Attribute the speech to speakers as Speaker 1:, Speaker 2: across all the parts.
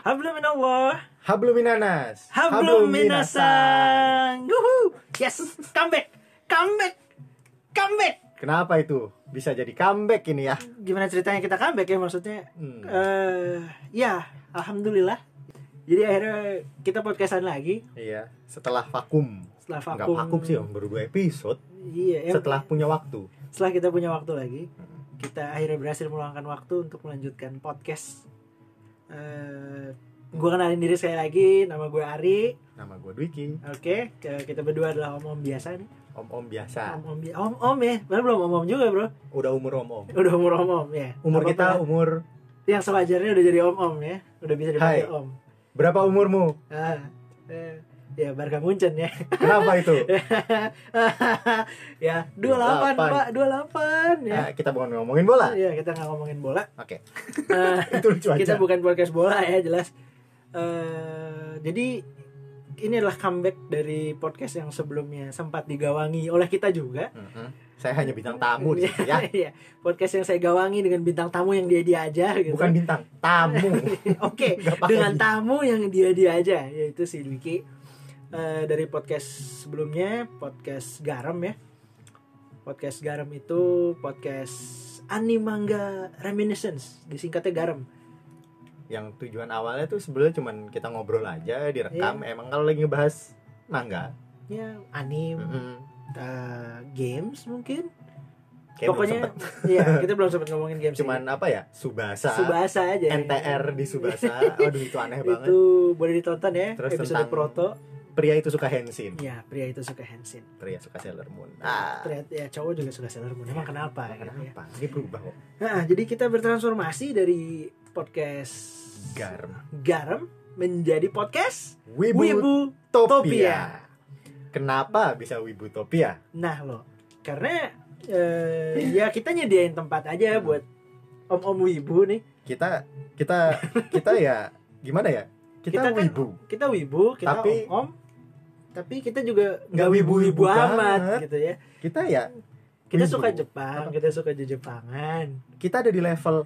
Speaker 1: Hablum minallah.
Speaker 2: Hablum minanas.
Speaker 1: Hablum minasan. Yuhu. Yes. Comeback. Comeback. Comeback.
Speaker 2: Kenapa itu? Bisa jadi comeback ini ya.
Speaker 1: Gimana ceritanya kita comeback ya maksudnya?
Speaker 2: Hmm.
Speaker 1: Eh, ya, alhamdulillah. Jadi akhirnya kita podcastan lagi
Speaker 2: Iya, setelah vakum.
Speaker 1: setelah
Speaker 2: Enggak
Speaker 1: vakum.
Speaker 2: vakum sih, Om. baru dua episode
Speaker 1: Iya, em-
Speaker 2: setelah punya waktu.
Speaker 1: setelah kita punya waktu lagi, kita akhirnya berhasil meluangkan waktu untuk melanjutkan podcast. Eh, gue kenalin diri sekali lagi, nama gue Ari.
Speaker 2: Nama gue Dwiki,
Speaker 1: Oke, ke- kita berdua adalah om-om biasa nih.
Speaker 2: om-om biasa.
Speaker 1: Om-om bi- om-om ya, Padahal belum om-om juga, Bro.
Speaker 2: Udah umur om-om.
Speaker 1: Udah umur om-om ya.
Speaker 2: Umur
Speaker 1: Apa
Speaker 2: kita um-
Speaker 1: apa-
Speaker 2: umur
Speaker 1: yang sewajarnya udah jadi om-om ya. Udah bisa dipanggil
Speaker 2: Hai.
Speaker 1: om.
Speaker 2: berapa umurmu?
Speaker 1: Ah, eh, ya Barca Munchen ya.
Speaker 2: Kenapa itu?
Speaker 1: ya, 28,
Speaker 2: 28.
Speaker 1: Pak, 28 ya.
Speaker 2: Nah, kita bukan ngomongin bola.
Speaker 1: Iya, kita nggak ngomongin bola.
Speaker 2: Oke.
Speaker 1: Eh,
Speaker 2: Itu lucu
Speaker 1: kita
Speaker 2: aja.
Speaker 1: bukan podcast bola ya jelas eh jadi ini adalah comeback dari podcast yang sebelumnya sempat digawangi oleh kita juga
Speaker 2: Mhm. Saya hanya bintang tamu di sini ya.
Speaker 1: Iya, podcast yang saya gawangi dengan bintang tamu yang dia dia aja gitu
Speaker 2: Bukan bintang, tamu.
Speaker 1: oke
Speaker 2: Nggak pakai
Speaker 1: dengan
Speaker 2: bintang.
Speaker 1: tamu yang dia dia aja yaitu si Dwiki Eh, dari podcast sebelumnya podcast garam ya podcast garam itu podcast animanga reminiscence disingkatnya garam
Speaker 2: yang tujuan awalnya tuh sebenarnya cuman kita ngobrol aja direkam
Speaker 1: Iya.
Speaker 2: emang kalau lagi ngebahas mangga
Speaker 1: ya anim eh, games mungkin pokoknya
Speaker 2: pokoknya
Speaker 1: iya kita belum sempat ngomongin games
Speaker 2: cuman apa ya subasa,
Speaker 1: ini. subasa aja ya.
Speaker 2: NTR di subasa aduh itu aneh banget
Speaker 1: itu boleh ditonton ya
Speaker 2: Terus
Speaker 1: episode
Speaker 2: tentang-
Speaker 1: proto
Speaker 2: pria itu suka hensin
Speaker 1: ya pria itu suka Hansin
Speaker 2: pria suka Sailor Moon ah
Speaker 1: Pria- ya cowok juga suka Sailor Moon emang kenapa gitu ya.
Speaker 2: kenapa ini berubah kok
Speaker 1: Nah, jadi kita bertransformasi dari podcast
Speaker 2: garam
Speaker 1: garam menjadi podcast
Speaker 2: Wibu,
Speaker 1: wibu Topia.
Speaker 2: Topia kenapa bisa Wibu Topia
Speaker 1: nah lo karena eh, ya kita nyediain tempat aja
Speaker 2: Hmm.
Speaker 1: buat om-om wibu nih
Speaker 2: kita kita kita ya gimana ya kita,
Speaker 1: Kita kan-
Speaker 2: Wibu
Speaker 1: kita wibu kita
Speaker 2: Tapi-
Speaker 1: om, om tapi kita juga nggak
Speaker 2: Nggak
Speaker 1: wibu-wibu
Speaker 2: wibu-wibu
Speaker 1: amat
Speaker 2: banget.
Speaker 1: gitu ya
Speaker 2: kita ya
Speaker 1: kita
Speaker 2: Wibu.
Speaker 1: suka Jepang
Speaker 2: Apa?
Speaker 1: kita suka Jepangan
Speaker 2: kita ada di level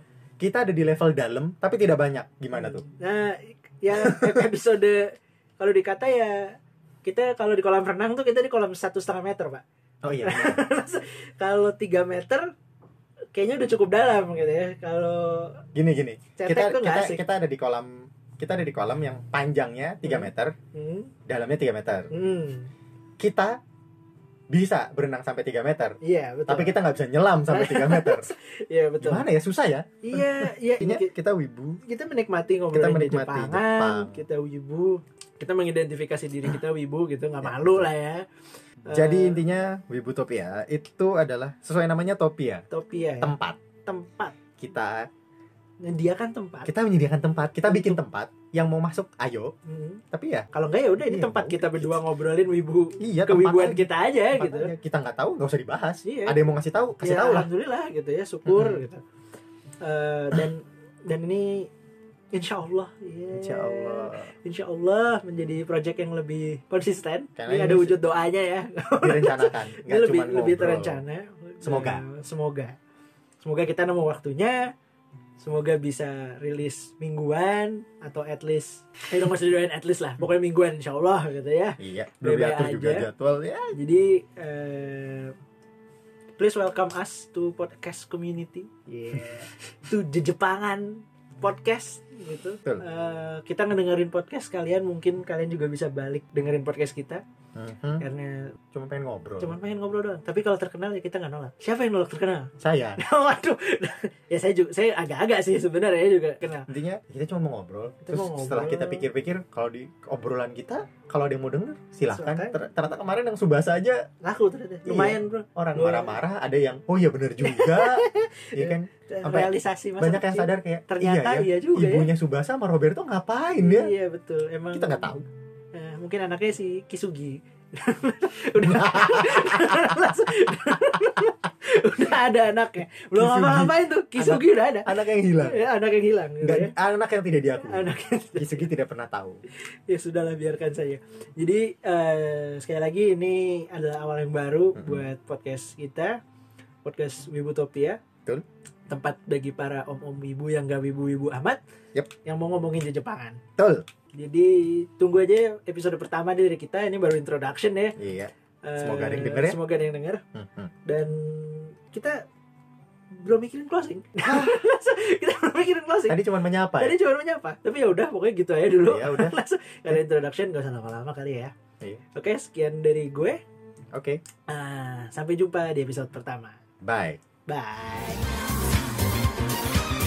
Speaker 2: kita ada di level dalam tapi tidak banyak gimana tuh
Speaker 1: nah ya episode kalau dikata ya kita kalau di kolam renang tuh kita di kolam satu setengah meter pak
Speaker 2: oh iya
Speaker 1: kalau tiga meter kayaknya udah cukup dalam gitu ya kalau
Speaker 2: gini gini
Speaker 1: cetek
Speaker 2: kita
Speaker 1: tuh nggak
Speaker 2: kita
Speaker 1: asik
Speaker 2: kita ada di kolam kita ada di kolam yang panjangnya 3
Speaker 1: Hmm.
Speaker 2: meter
Speaker 1: hmm.
Speaker 2: dalamnya 3 meter
Speaker 1: hmm.
Speaker 2: kita bisa berenang sampai 3 meter
Speaker 1: iya betul
Speaker 2: tapi kita nggak bisa nyelam sampai 3 meter
Speaker 1: iya betul
Speaker 2: gimana ya susah ya
Speaker 1: iya iya
Speaker 2: intinya
Speaker 1: ki-
Speaker 2: kita wibu
Speaker 1: kita menikmati ngobrol
Speaker 2: Kita menikmati
Speaker 1: Jepangan,
Speaker 2: Jepang.
Speaker 1: kita wibu kita mengidentifikasi diri kita wibu gitu nggak malu lah ya Eh,
Speaker 2: jadi intinya wibu topia itu adalah sesuai namanya topia
Speaker 1: topia ya.
Speaker 2: tempat
Speaker 1: tempat
Speaker 2: kita
Speaker 1: menyediakan tempat
Speaker 2: kita menyediakan tempat kita
Speaker 1: Gitu.
Speaker 2: bikin tempat yang mau masuk ayo
Speaker 1: Hmm.
Speaker 2: tapi ya
Speaker 1: kalau enggak ya udah ini
Speaker 2: Iya,
Speaker 1: tempat
Speaker 2: udah.
Speaker 1: kita berdua ngobrolin wibu
Speaker 2: iya tempat
Speaker 1: kewibuan
Speaker 2: aja.
Speaker 1: kita aja
Speaker 2: Tempat
Speaker 1: gitu
Speaker 2: aja. kita nggak tahu nggak usah dibahas
Speaker 1: Iya.
Speaker 2: ada yang mau ngasih tahu kasih
Speaker 1: Ya,
Speaker 2: tahu lah
Speaker 1: alhamdulillah gitu ya syukur
Speaker 2: Mm-mm.
Speaker 1: gitu Eh, dan dan ini Insya Allah, yeah.
Speaker 2: Insya Allah
Speaker 1: Insya Allah menjadi project yang lebih konsisten.
Speaker 2: Karena
Speaker 1: ini
Speaker 2: ini
Speaker 1: ada
Speaker 2: se-
Speaker 1: wujud doanya ya.
Speaker 2: direncanakan
Speaker 1: Ini
Speaker 2: nggak
Speaker 1: lebih
Speaker 2: cuma
Speaker 1: lebih
Speaker 2: ngobrol.
Speaker 1: terencana.
Speaker 2: Semoga.
Speaker 1: Eh, semoga. Semoga kita nemu waktunya. Semoga bisa rilis mingguan atau at least eh, kita masih doain at least lah. Pokoknya mingguan insya Allah gitu ya.
Speaker 2: iya belum
Speaker 1: Bebe
Speaker 2: diatur juga
Speaker 1: aja.
Speaker 2: jadwal ya
Speaker 1: Jadi eh, please welcome us to podcast community. to Jejepangan podcast gitu.
Speaker 2: Betul.
Speaker 1: Eh, kita ngedengerin podcast kalian mungkin kalian juga bisa balik dengerin podcast kita
Speaker 2: Mhm.
Speaker 1: karena
Speaker 2: cuma pengen ngobrol
Speaker 1: cuman Mm-hmm. pengen ngobrol doang. Tapi kalau terkenal ya kita nggak nolak. Siapa yang nolak terkenal?
Speaker 2: saya
Speaker 1: Waduh. ya saya juga saya agak-agak sih sebenarnya juga kenal.
Speaker 2: intinya kita cuma mau ngobrol
Speaker 1: Kita
Speaker 2: terus
Speaker 1: mau ngobrol.
Speaker 2: setelah kita pikir-pikir kalau di obrolan kita kalau ada yang mau denger silahkan
Speaker 1: Silahkan.
Speaker 2: Ter- ternyata kemarin yang subasa aja
Speaker 1: Laku ternyata.
Speaker 2: Iya.
Speaker 1: Lumayan, Bro.
Speaker 2: orang
Speaker 1: Iya.
Speaker 2: marah-marah ada yang oh iya bener juga Iya kan Sampai
Speaker 1: Realisasi masa
Speaker 2: banyak yang
Speaker 1: kecil.
Speaker 2: sadar kayak
Speaker 1: Ternyata
Speaker 2: iya, ya,
Speaker 1: iya, juga ya.
Speaker 2: ibunya subasa sama Roberto ngapain ya
Speaker 1: Iya, betul. Emang
Speaker 2: kita nggak tahu
Speaker 1: Eh, mungkin anaknya si Kisugi udah langsung- udah ada anaknya belum
Speaker 2: Kisugi.
Speaker 1: ngapa-ngapain tuh Kisugi udah ada
Speaker 2: anak yang hilang
Speaker 1: ya, anak yang hilang gitu
Speaker 2: Nggak-
Speaker 1: ya.
Speaker 2: anak yang tidak diakui
Speaker 1: anak yang-
Speaker 2: Kisugi tidak pernah tahu
Speaker 1: ya sudahlah biarkan saya jadi eh, sekali lagi ini adalah awal yang baru
Speaker 2: Mm-mm.
Speaker 1: buat podcast kita podcast Wibutopia
Speaker 2: Betul.
Speaker 1: tempat bagi para om-om ibu yang gak wibu-wibu amat
Speaker 2: Yep.
Speaker 1: yang mau ngomongin Jepangan.
Speaker 2: Betul.
Speaker 1: Jadi tunggu aja episode pertama dari kita ini baru introduction ya.
Speaker 2: Iya.
Speaker 1: Eh,
Speaker 2: Semoga ada yang denger ya.
Speaker 1: Semoga ada yang denger
Speaker 2: Hmm, hmm.
Speaker 1: dan kita belum mikirin closing. kita belum mikirin closing.
Speaker 2: Tadi cuma menyapa.
Speaker 1: Tadi
Speaker 2: Ah. Ya?
Speaker 1: cuma menyapa. Tapi ya udah pokoknya gitu aja dulu.
Speaker 2: Iya, udah.
Speaker 1: Langsung ada introduction gak usah lama-lama kali ya.
Speaker 2: Iya.
Speaker 1: Oke, sekian dari gue.
Speaker 2: Oke.
Speaker 1: Ah, sampai jumpa di episode pertama.
Speaker 2: Bye.
Speaker 1: Bye.